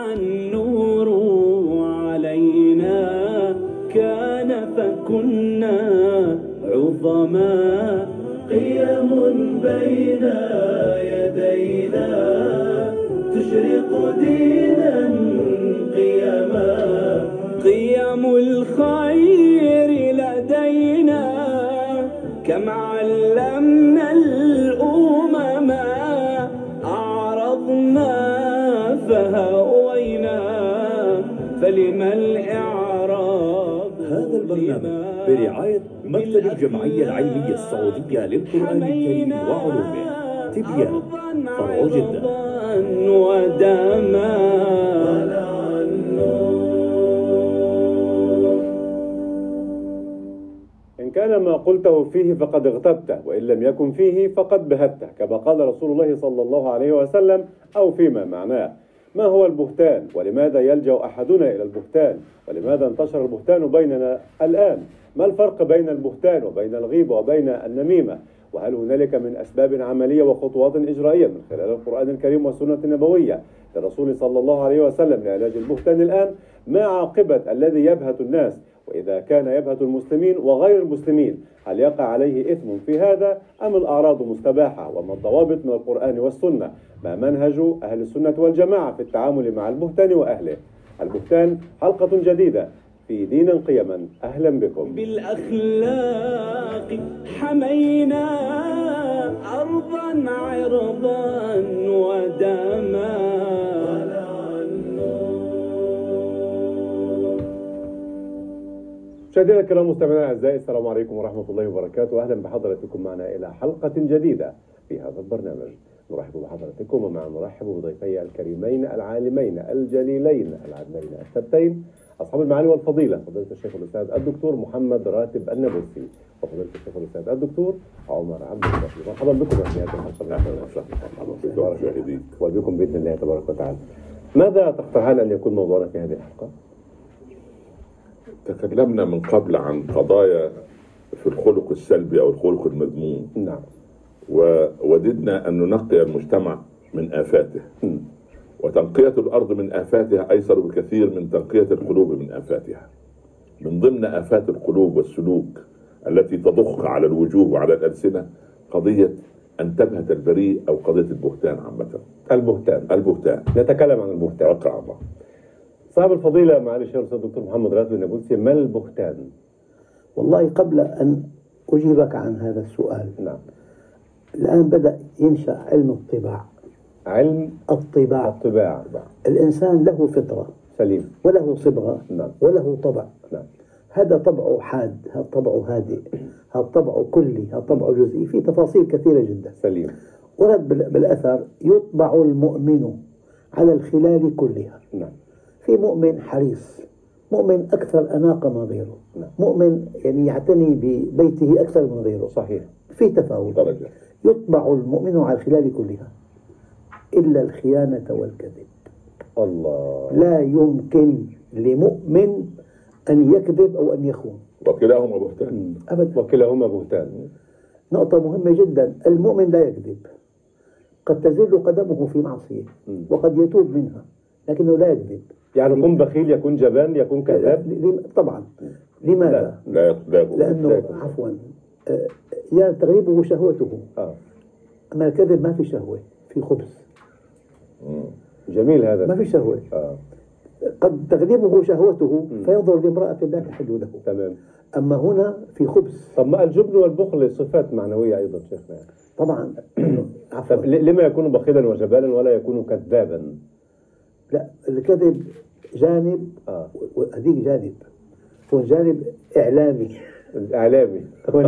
النور علينا كان فكنا عظما قيم بين يدينا تشرق دينا قيما قيم الخير لدينا كم علمنا الأمم أعرضنا فهوينا فلم الإعراب هذا البرنامج برعاية مكتب الجمعية العلمية السعودية للقرآن الكريم وعلومه تبيان فرع جدة ودما إن كان ما قلته فيه فقد اغتبته وإن لم يكن فيه فقد بهته كما قال رسول الله صلى الله عليه وسلم أو فيما معناه ما هو البهتان ولماذا يلجأ أحدنا إلى البهتان ولماذا انتشر البهتان بيننا الآن ما الفرق بين البهتان وبين الغيبة وبين النميمة وهل هنالك من أسباب عملية وخطوات إجرائية من خلال القرآن الكريم والسنة النبوية للرسول صلى الله عليه وسلم لعلاج البهتان الآن ما عاقبة الذي يبهت الناس وإذا كان يبهت المسلمين وغير المسلمين هل يقع عليه إثم في هذا أم الأعراض مستباحة وما الضوابط من القرآن والسنة ما منهج أهل السنة والجماعة في التعامل مع البهتان وأهله البهتان حلقة جديدة في دينا قيما أهلا بكم بالأخلاق حمينا أرضا عرضا ودما مشاهدينا الكرام مستمعينا الاعزاء السلام عليكم ورحمه الله وبركاته واهلا بحضراتكم معنا الى حلقه جديده في هذا البرنامج نرحب بحضراتكم ومع نرحب بضيفي الكريمين العالمين الجليلين العدلين الثبتين اصحاب المعالي والفضيله فضيله الشيخ الاستاذ الدكتور محمد راتب النابلسي وفضيله الشيخ الاستاذ الدكتور عمر عبد الرحيم مرحبا بكم في هذه الحلقه مرحبا بكم مشاهدين وبكم باذن الله تبارك وتعالى ماذا تقترحان ان يكون موضوعنا في هذه الحلقه؟ تكلمنا من قبل عن قضايا في الخلق السلبي او الخلق المذموم نعم ووددنا ان ننقي المجتمع من افاته م. وتنقيه الارض من افاتها ايسر بكثير من تنقيه القلوب من افاتها من ضمن افات القلوب والسلوك التي تضخ على الوجوه وعلى الالسنه قضيه ان تبهت البريء او قضيه البهتان عامه البهتان البهتان نتكلم عن البهتان توقع الله صاحب الفضيله معالي الشيخ الاستاذ الدكتور محمد راتب النابلسي ما البهتان؟ والله قبل أن أجيبك عن هذا السؤال نعم الآن بدأ ينشأ علم الطباع علم الطباع الطباع الإنسان له فطرة سليم وله صبغة نعم وله طبع نعم هذا طبعه حاد هذا طبعه هادئ هذا طبعه كلي هذا طبعه جزئي في تفاصيل كثيرة جدا سليم ورد بال- بالأثر يطبع المؤمن على الخلال كلها نعم في مؤمن حريص مؤمن أكثر أناقة من غيره نعم. مؤمن يعني يعتني ببيته أكثر من غيره صحيح في تفاوت درجه يطبع المؤمن على الخلال كلها إلا الخيانة والكذب الله لا يمكن لمؤمن أن يكذب أو أن يخون وكلاهما بهتان أبدا وكلاهما بهتان نقطة مهمة جدا المؤمن لا يكذب قد تزل قدمه في معصية مم. وقد يتوب منها لكنه لا يكذب يعني يكون بخيل يكون جبان يكون كذاب لم- طبعا لماذا؟ لا يطلق لأنه عفوا آه، يا تغلبه شهوته اه أما الكذب ما في شهوة في خبز جميل هذا ما في شهوة اه قد تغلبه شهوته فينظر لامرأة لا تحل له تمام أما هنا في خبز طب ما الجبن والبخل صفات معنويه ايضا شيخنا يعني. طبعا عفوا طب ل- لما يكون بخيلا وجبانا ولا يكون كذابا؟ لا الكذب جانب آه. اه وهذيك جانب هو جانب إعلامي الاعلامي هو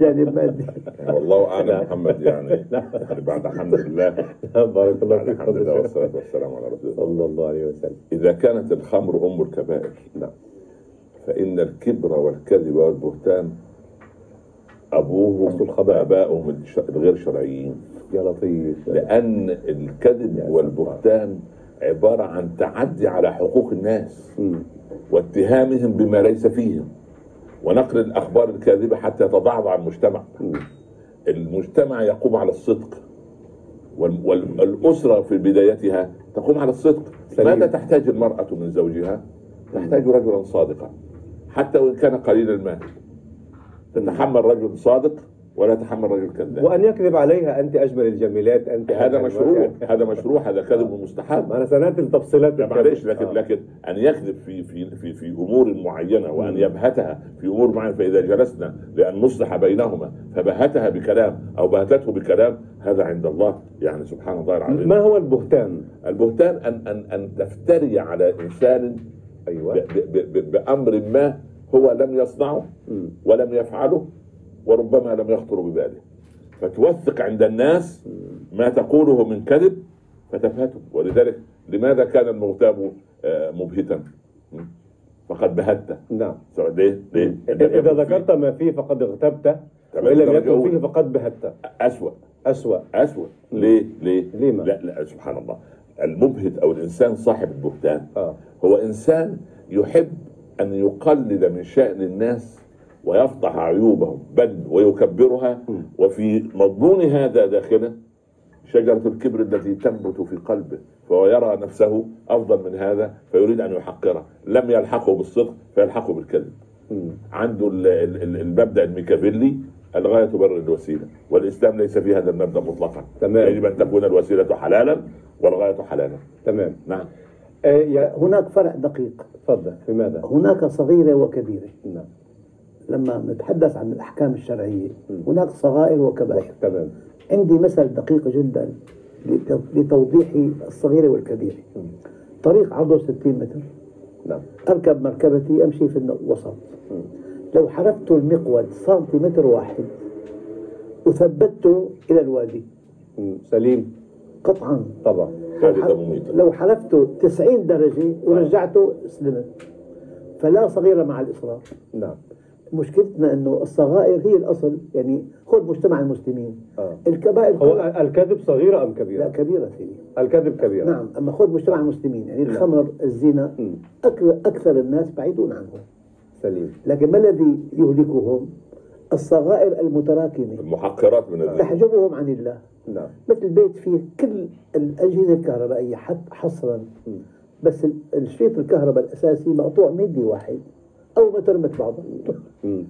جانب مادي والله اعلم محمد يعني يعني بعد الحمد لله بارك الله بعد فيك الحمد لله فضيلة الشيخ. والصلاه والسلام على رسول الله صلى الله عليه وسلم إذا كانت الخمر أم الكبائر نعم فإن الكبر والكذب والبهتان أبوهم آباؤهم الش- الغير شرعيين يا لطيف لأن الكذب والبهتان عبارة عن تعدي على حقوق الناس مم. واتهامهم بما ليس فيهم ونقل الأخبار الكاذبة حتى يتضعضع المجتمع مم. المجتمع يقوم على الصدق وال- وال- والأسرة في بدايتها تقوم على الصدق سليم. ماذا تحتاج المرأة من زوجها تحتاج رجلا صادقا حتى وإن كان قليل المال تتحمل رجل صادق ولا تتحمل رجل كذاب وان يكذب عليها انت اجمل الجميلات انت هذا أجمل مشروع الواقع. هذا مشروع هذا كذب مستحب ما انا سناتي التفصيلات لا معلش لكن آه. لكن ان يكذب في في في في امور معينه وان يبهتها في امور معينه فاذا جلسنا لان نصلح بينهما فبهتها بكلام او بهتته بكلام هذا عند الله يعني سبحان الله العظيم ما هو البهتان؟ البهتان ان ان ان تفتري على انسان ب- ايوه ب- ب- ب- بامر ما هو لم يصنعه مم. ولم يفعله وربما لم يخطر بباله فتوثق عند الناس ما تقوله من كذب فتبهته ولذلك لماذا كان المغتاب آه، مبهتا م? فقد بهته نعم سعود ليه؟ ليه؟ اذا ذكرت ما فيه فقد اغتبت تمام، وان لم درجة يكن فيه أولى. فقد بهت أسوأ اسوا أسوأ ليه؟ ليه؟ ليه ما؟ لا لا سبحان الله المبهت أو الإنسان صاحب البهتان اه هو إنسان يحب أن يقلل من شأن الناس ويفضح عيوبهم بل ويكبرها وفي مضمون هذا داخله شجرة الكبر التي تنبت في قلبه فهو يرى نفسه أفضل من هذا فيريد أن يحقره لم يلحقه بالصدق فيلحقه بالكذب مم. عنده ال- ال- ال- المبدأ الميكافيلي الغاية تبرر الوسيلة والإسلام ليس في هذا المبدأ مطلقا تمام. يجب أن تكون الوسيلة حلالا والغاية حلالا تمام نعم آه، يا- هناك فرق دقيق اتفضل في ماذا؟ هناك صغيرة وكبيرة نعم لما نتحدث عن الأحكام الشرعية هناك صغائر وكبائر تمام عندي مثل دقيق جدا لتو- لتوضيح الصغيرة والكبيرة طريق عرضه 60 متر نعم أركب مركبتي أمشي في الوسط لو حرفت المقود سنتيمتر واحد وثبته إلى الوادي مم. سليم قطعا طبعا لو حادثة حر- مميتة لو حلفته 90 درجة طيب. ورجعته سلمت فلا صغيرة مع الإصرار نعم مشكلتنا انه الصغائر هي الاصل يعني خذ مجتمع المسلمين آه. الكبائر هو ال- الكذب صغيرة أم لا كبيرة؟ كبيره سيدي الكذب كبيرة نعم اما خذ مجتمع المسلمين يعني الخمر الزنا نعم. مم. أكثر, اكثر الناس بعيدون عنه سليم لكن ما الذي يهلكهم الصغائر المتراكمه المحقرات من الدين تحجبهم عن الله نعم مثل بيت فيه كل الاجهزه الكهربائيه حتى حصرا بس ال- الشريط الكهرباء الاساسي مقطوع مدي واحد او متر مثل بعضه مم.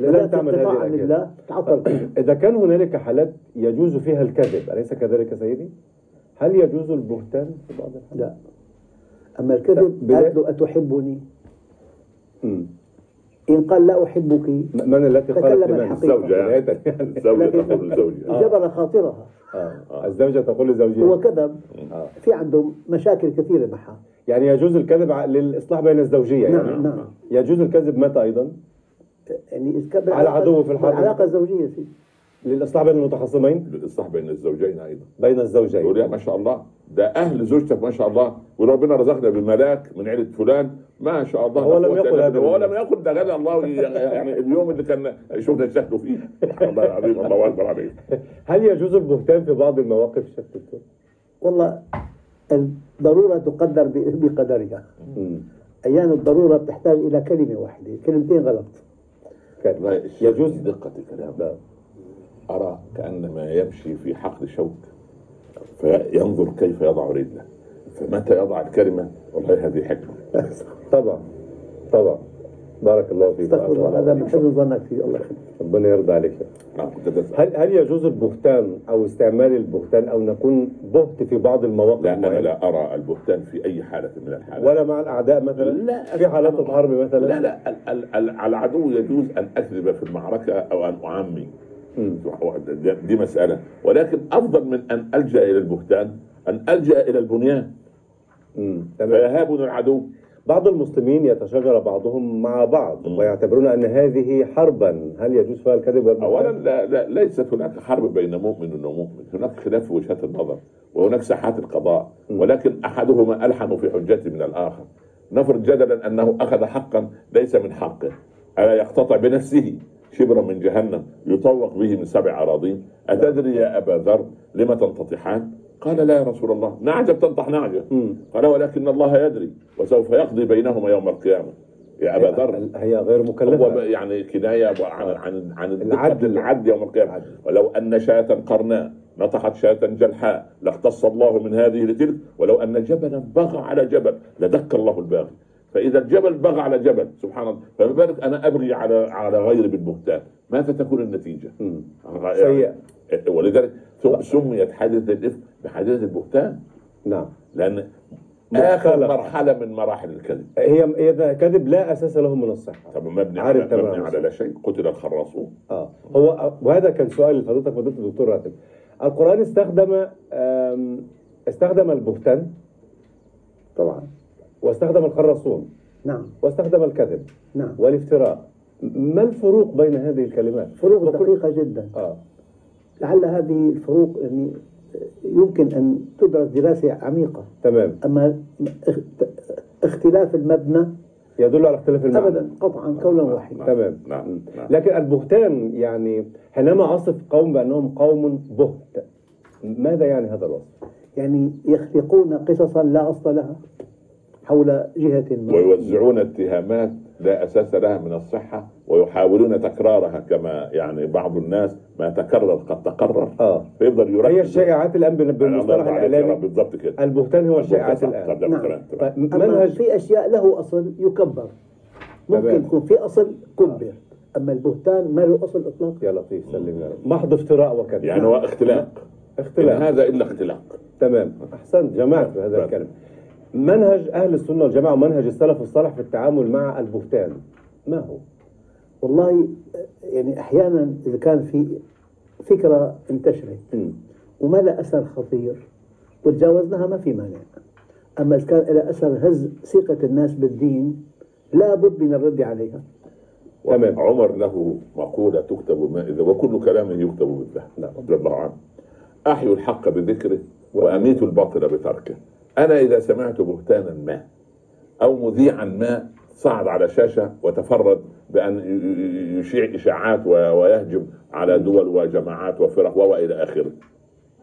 لا لم تعمل هذه عن الأجهزة. آه. الله تعطل كله. إذا كان هنالك حالات يجوز فيها الكذب أليس كذلك سيدي؟ هل يجوز البهتان في بعض الحالات؟ لا أما الكذب لا، بلا- قالت له أتحبني مم. إن قال لا أحبك م- من التي قالت تكلم لمن؟ الحقيقة. الزوجة يعني يعني. الزوجة تقول لزوجها جبل خاطرها آه. الزوجة تقول لزوجها هو كذب في عنده مشاكل كثيرة معها يعني يجوز الكذب ع- للإصلاح بين الزوجية يعني نعم نعم يجوز الكذب متى أيضا؟ يعني إذا كان على عدو في الحرب. العلاقة الزوجية سيدي للإصلاح بين المتخاصمين الإصلاح بين الزوجين أيضا بين الزوجين يقول يا ما شاء الله ده أهل زوجتك ما شاء الله وربنا رزقنا بملاك من عيلة فلان ما شاء الله هو لم يقل هذا هو لم يقل ده غدا الله ي- يعني اليوم اللي كان شفنا شكله فيه سبحان الله العظيم الله أكبر عليك هل يجوز البهتان في بعض المواقف شيخ دكتور؟ والله الضرورة تقدر ب- بقدرها مم. أيام الضرورة بتحتاج إلى كلمة واحدة كلمتين غلط كذب. والله يجوز يجوز دقة الكلام نعم. أرى كأنما يمشي في حقل شوك فينظر كيف يضع رجله فمتى يضع الكلمة والله هذه حكمة طبعا طبعا بارك الله فيك استغفر الله هذا من الله حسن ظنك فيه الله يخليك ربنا يرضى عليك يا رب. نعم كنت بسأل. هل هل يجوز البهتان او استعمال البهتان او نكون بهت في بعض المواقف لا أنا معينة؟ لا أرى البهتان في أي حالة من الحالات ولا مع الاعداء مثلا لا. في حالات الحرب مثلا لا لا ال- ال- ال- على العدو يجوز أن أكذب في المعركة أو أن أعمي مم. دي- دي مسألة ولكن أفضل من أن ألجأ إلى البهتان أن ألجأ إلى البنيان مم. تمام فيهابني العدو بعض المسلمين يتشاجر بعضهم مع بعض مم. ويعتبرون ان هذه حربا هل يجوز فيها الكذب والبهتان اولا لا, لا ليست هناك حرب بين مؤمن ومؤمن هناك خلاف في وجهات النظر وهناك ساحات القضاء ولكن احدهما الحن في حجته من الاخر نفرض جدلا انه اخذ حقا ليس من حقه الا يقتطع بنفسه شبرا من جهنم يطوق به من سبع اراضين اتدري يا ابا ذر لم تنتطحان قال لا يا رسول الله نعجب تنطح نعجب مم. قال ولكن الله يدري وسوف يقضي بينهما يوم القيامه يا إيه، ابا ذر هي غير هو مكلفه بقى يعني كنايه عن عن عن العدل. العدل يوم القيامه ولو ان شاة قرناء نطحت شاة جلحاء لاختص الله من هذه لتلك ولو أن جبلا بغى على جبل لدك الله الباغي فإذا الجبل بغى على جبل سبحان الله فما بالك أنا أبغي على على غيري بالبهتان ماذا تكون النتيجة؟ يعني سيئة. ولذلك ثم- سميت حادثة الإفك بحادثة البهتان نعم لأن آخر مختلط. مرحلة من مراحل الكذب هي هي ده كذب لا اساس له من الصحه طب مبني على عارف تمام. مبني على لا شيء قتل الخراصون اه هو وهذا كان سؤال لفضيلتك فضيله الدكتور راتب القران استخدم آم، استخدم البهتان طبعا واستخدم الخراصون نعم واستخدم الكذب نعم والافتراء م- ما الفروق بين هذه الكلمات؟ فروق وكل- دقيقة جدا اه لعل هذه الفروق يعني يمكن أن تدرس دراسة عميقة تمام أما اخت- اختلاف المبنى يدل على اختلاف المعنى أبدا قطعا قولا واحدا تمام نعم نعم لكن البهتان يعني حينما اصف قوم بانهم قوم بهت ماذا يعني هذا الوصف؟ يعني يخلقون قصصا لا أصل لها حول جهة ما ويوزعون اتهامات لا اساس لها من الصحه ويحاولون تكرارها كما يعني بعض الناس ما تكرر قد تكرر اه فيفضل يركز هي الشائعات الان بال- على الله بالمصطلح عليك يا رب، الاعلامي بالضبط كده البهتان هو الشائعات الان طب ده نعم. كلام، تمام. طيب أما منهج في أشياء له أصل يكبر تمام. ممكن يكون في أصل كبر أما البهتان ما له أصل إطلاقا يا لطيف سلم يا رب محض افتراء وكذب يعني هو اختلاق إن اختلاف هذا الا اختلاق تمام احسنت جمعت هذا الكلام منهج اهل السنه والجماعه ومنهج السلف الصالح في التعامل مع البهتان ما هو؟ والله يعني أحيانا إذا كان في فكرة انتشرت وملا اثر خطير وتجاوزناها ما في مانع اما اذا كان لها اثر هز ثقه الناس بالدين لابد من الرد عليها تمام. عمر له مقولة تكتب ما إذا وكل كلامه يكتب بالذهب رضي الله عنه أحيوا الحق بذكره وأميتوا الباطل بتركه أنا إذا سمعت بهتانا ما أو مذيعا ما صعد على شاشة وتفرد بأن ي- ي- يشيع إشاعات و- ويهجم على دول وجماعات وفرق وإلى آخره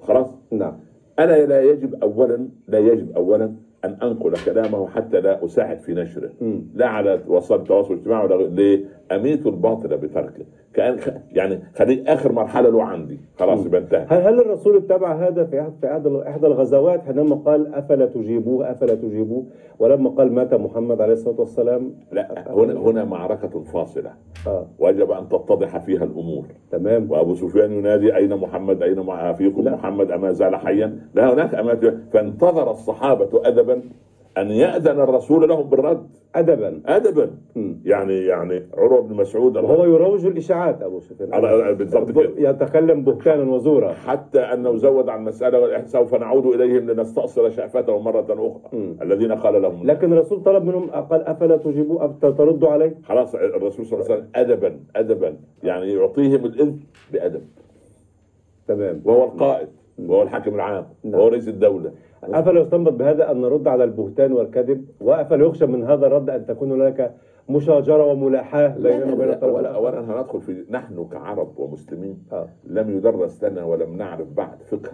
خلاص نعم أنا لا يجب أولا لا يجب أولا أن أنقل كلامه حتى لا أساعد في نشره مم. لا على وسائل التواصل الاجتماعي ولا غيره. ليه؟ اميت الباطل بتركه كان خ- يعني خليه اخر مرحله له عندي خلاص يبقى انتهى هل هل الرسول اتبع هذا في أحد- في أحد- احدى الغزوات حينما قال افلا تجيبوه افلا تجيبوه ولما قال مات محمد عليه الصلاه والسلام لا هنا هنا معركه فاصله اه وجب ان تتضح فيها الامور تمام وابو سفيان ينادي اين محمد اين مع فيكم لا. محمد اما زال حيا لا هناك امات فانتظر الصحابه ادبا ان ياذن الرسول لهم بالرد ادبا ادبا مم. يعني يعني عروه بن مسعود وهو يروج الاشاعات ابو سفيان على- بالضبط كده يتكلم بهتانا وزورا حتى انه زود عن المساله والإحساء سوف نعود اليهم لنستاصل شافتهم مره اخرى مم. الذين قال لهم لكن الرسول طلب منهم قال افلا تجيبوه أف- تردوا عليه خلاص الرسول صلى الله عليه وسلم ادبا ادبا يعني يعطيهم الاذن بادب تمام وهو القائد وهو الحاكم العام نعم. وهو رئيس الدوله افلا يستنبط بهذا ان نرد على البهتان والكذب وافلا يخشى من هذا الرد ان تكون هناك مشاجره وملاحاه بيننا وبين لا، الطرف ولا اولا هندخل في نحن كعرب ومسلمين آه. لم يدرس لنا ولم نعرف بعد فقه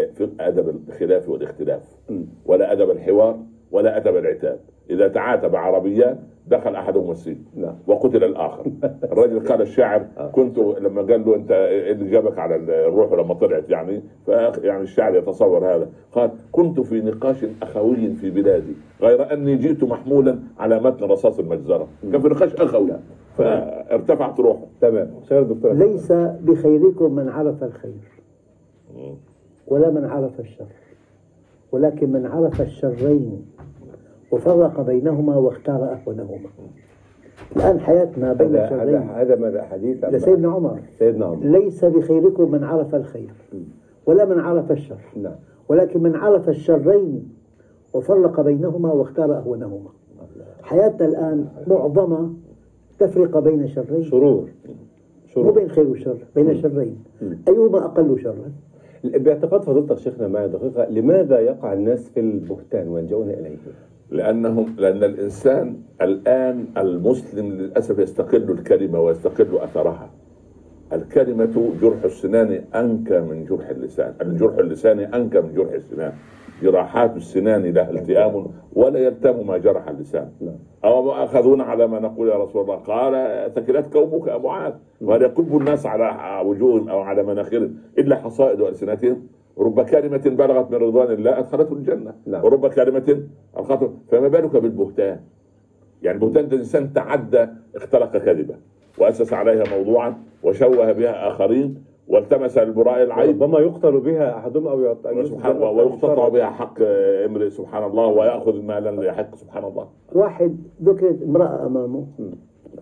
ال- فقه ادب الخلاف والاختلاف م. ولا ادب الحوار ولا ادب العتاب اذا تعاتب عربيان دخل احدهم السجن نعم. وقتل الاخر الرجل قال الشاعر كنت لما قال له انت ايه اللي جابك على الروح لما طلعت يعني ف يعني الشاعر يتصور هذا قال كنت في نقاش اخوي في بلادي غير اني جئت محمولا على متن رصاص المجزره كان في نقاش اخوي فارتفعت روحه تمام شكرا دكتور ليس بخيركم من عرف الخير ولا من عرف الشر ولكن من عرف الشرين وفرق بينهما واختار احوجهما الان حياتنا بين هذا هذا الشرين هذا ماذا حديث عن- لسيدنا عمر سيدنا عمر ليس بخيركم من عرف الخير ولا من عرف الشر نعم ولكن من عرف الشرين وفرق بينهما واختار أهونهما حياتنا الآن معظمة تفرق بين شرين شرور مو شرور بين خير وشر بين شرين أيهما أقل شرا باعتقاد فضيلتك شيخنا معي دقيقه لماذا يقع الناس في البهتان ويلجؤون اليه؟ لانهم لان الانسان الان المسلم للاسف يستقل الكلمه ويستقل اثرها. الكلمه جرح السنان انكى من جرح اللسان، الجرح اللساني انكى من جرح السنان. جراحات السنان لا التئام ولا يلتم ما جرح اللسان أو أخذون على ما نقول يا رسول الله قال ثكلت كومك أبو معاذ وهل يكب الناس على وجوههم أو على مناخرهم إلا حصائد ألسنتهم رب كلمة بلغت من رضوان الله أدخلته الجنة نعم. ورب كلمة ألقته فما بالك بالبهتان يعني البهتان ده إنسان تعدى اختلق كذبة وأسس عليها موضوعا وشوه بها آخرين والتمس البراء العيب ربما يقتل بها احدهم او يعت- أو يسجن وسبحان أكثر ويقتطع شرعاً. بها حق امرئ سبحان الله ويأخذ ما لم يحق سبحان الله واحد ذكرت امرأة أمامه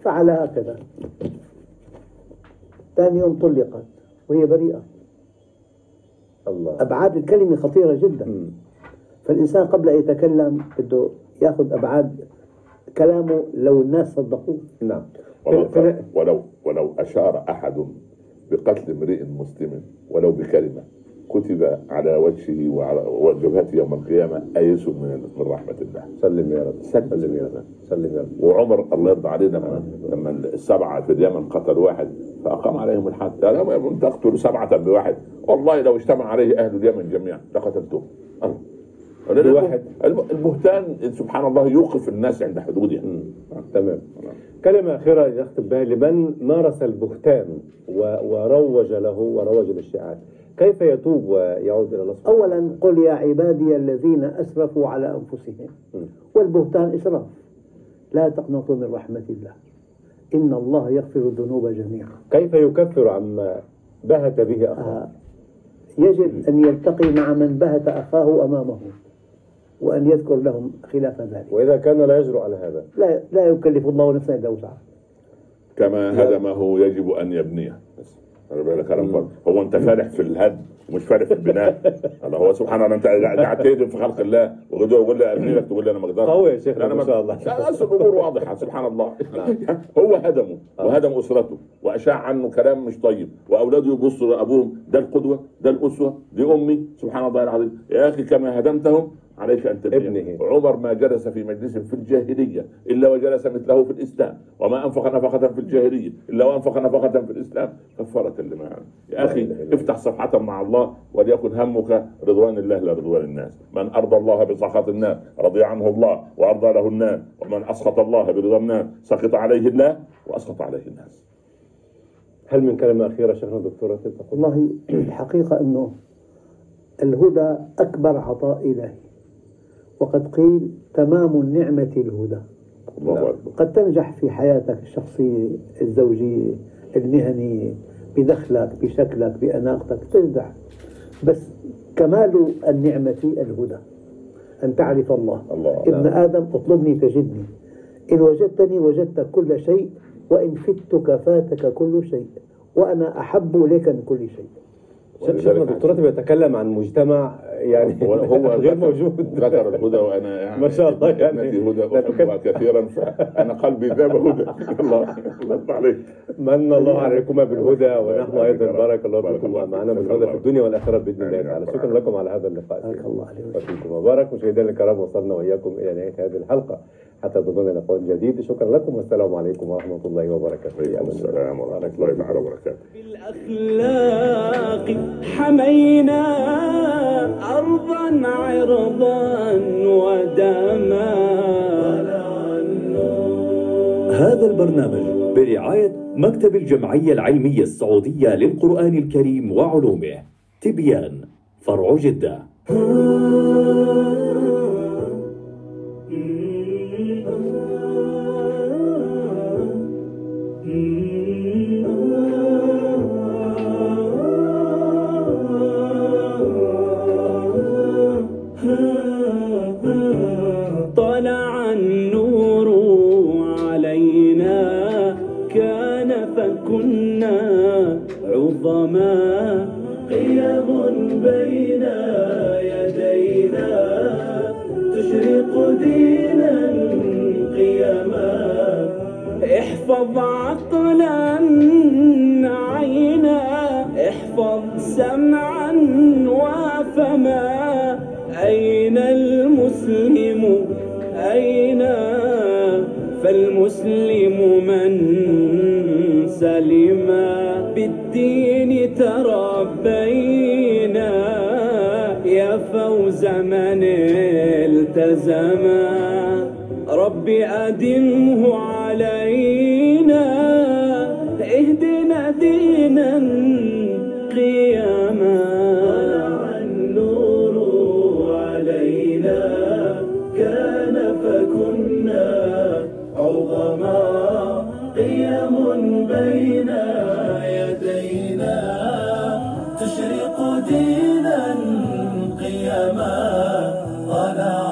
فعل هكذا ثاني يوم طلقت وهي بريئة الله أبعاد الكلمة خطيرة جدا أمم. مم. فالإنسان قبل أن يتكلم بده يأخذ أبعاد كلامه لو الناس صدقوه نعم ولو- في- في- ولو ولو أشار أحد بقتل امرئ مسلم ولو بكلمة كتب على وجهه وعلى وجبهته يوم القيامة أيس من من رحمة الله سلم يا رب سلم يا رب سلم يا رب وعمر الله يرضى عليه لما لما السبعه في اليمن قتلوا واحد فاقام عليهم الحد قال لهم يا من تقتلوا سبعه بواحد والله لو اجتمع عليه اهل اليمن جميعا لقتلتهم الله بواحد. الب- البهتان سبحان الله يوقف الناس عند حدودها تمام كلمة أخيرة نختم بها لمن مارس البهتان و- وروج له وروج للشيعات كيف يتوب ويعود إلى الله سبحانه أولا قل يا عبادي الذين أسرفوا على أنفسهم والبهتان إسراف لا تقنطوا من رحمة الله إن الله يغفر الذنوب جميعا كيف يكفر عما بهت به أخاه آه، يجب أن يلتقي مع من بهت أخاه أمامه وأن يذكر لهم خلاف ذلك وإذا كان لا يجرؤ على هذا لا لا يكلف الله نفسا إلا وسعها كما هدمه يجب ان يبنيه خلي بالك انا مفرق. هو انت فالح في الهدم ومش فالح في البناء الله هو سبحان الله انت قاعد تهدم في خلق الله وغدوه يقول لي ابني لك تقول لي انا ما اقدرش قوي يا شيخنا لا، أنا ما شاء الله نعم. لا اصل الامور واضحه سبحان الله هو هدمه وهدم اسرته واشاع عنه كلام مش طيب واولاده يبصوا لابوهم ده القدوه ده الاسوه دي امي سبحان الله العظيم يا اخي كما هدمتهم عليك ان تبني ابنه. عمر ما جلس في مجلس في الجاهليه الا وجلس مثله في الاسلام وما انفق نفقه في الجاهليه الا وانفق نفقه في الاسلام كفاره لما عمل يا اخي افتح صفحه مع الله وليكن همك رضوان الله لا رضوان الناس من ارضى الله بسخط الناس رضي عنه الله وارضى له الناس ومن اسخط الله برضا الناس سخط عليه الله واسخط عليه الناس هل من كلمة أخيرة شيخنا دكتورة تقول والله الحقيقة أنه الهدى أكبر عطاء إلهي وقد قيل تمام النعمة الهدى الله اكبر قد تنجح في حياتك الشخصية الزوجية المهنية بدخلك بشكلك بأناقتك تنجح بس كمال النعمة الهدى أن تعرف الله, الله. ابن آدم اطلبني تجدني إن وجدتني وجدت كل شيء وإن فتك فاتك كل شيء وأنا أحب لك من كل شيء شيخنا دكتورة بيتكلم عن مجتمع يعني هو هو غير ذكر- موجود ذكر الهدى وانا يعني ما شاء الله يعني. ابنتي هدى لا احبها كثيرا فانا قلبي ذاب هدى الله الله عليك من الله عليكما بالهدى ونحن ايضا يبارك. بارك الله بارك فيكم الله ومعنا فيك. بالهدى في الدنيا والاخره باذن الله آمين. تعالى شكرا لكم على هذا اللقاء بارك الله عليه وسلم. وفيكم مبارك مشاهدينا الكرام وصلنا واياكم الى نهايه هذه الحلقه حتى ضمن لقاء جديد شكرا لكم والسلام عليكم ورحمه الله وبركاته عليكم السلام ورحمه الله تعالى وبركاته بالأخلاق حمينا أرضا عرضا ودما هذا البرنامج برعاية مكتب الجمعية العلمية السعودية للقرآن الكريم وعلومه تبيان فرع جدة طلع النور علينا كان فكنا عظما قيام بين يدينا تشرق دينا قيما احفظ عقلا عينا احفظ سمعا وفما أين المسلم أين فالمسلم من سلم بالدين تربينا يا فوز من من التزم ربي أدمه علينا اهدنا دينا قياما طلع النور علينا كان فكنا عظما قيم بين يدينا تشرق دينا قياما طلع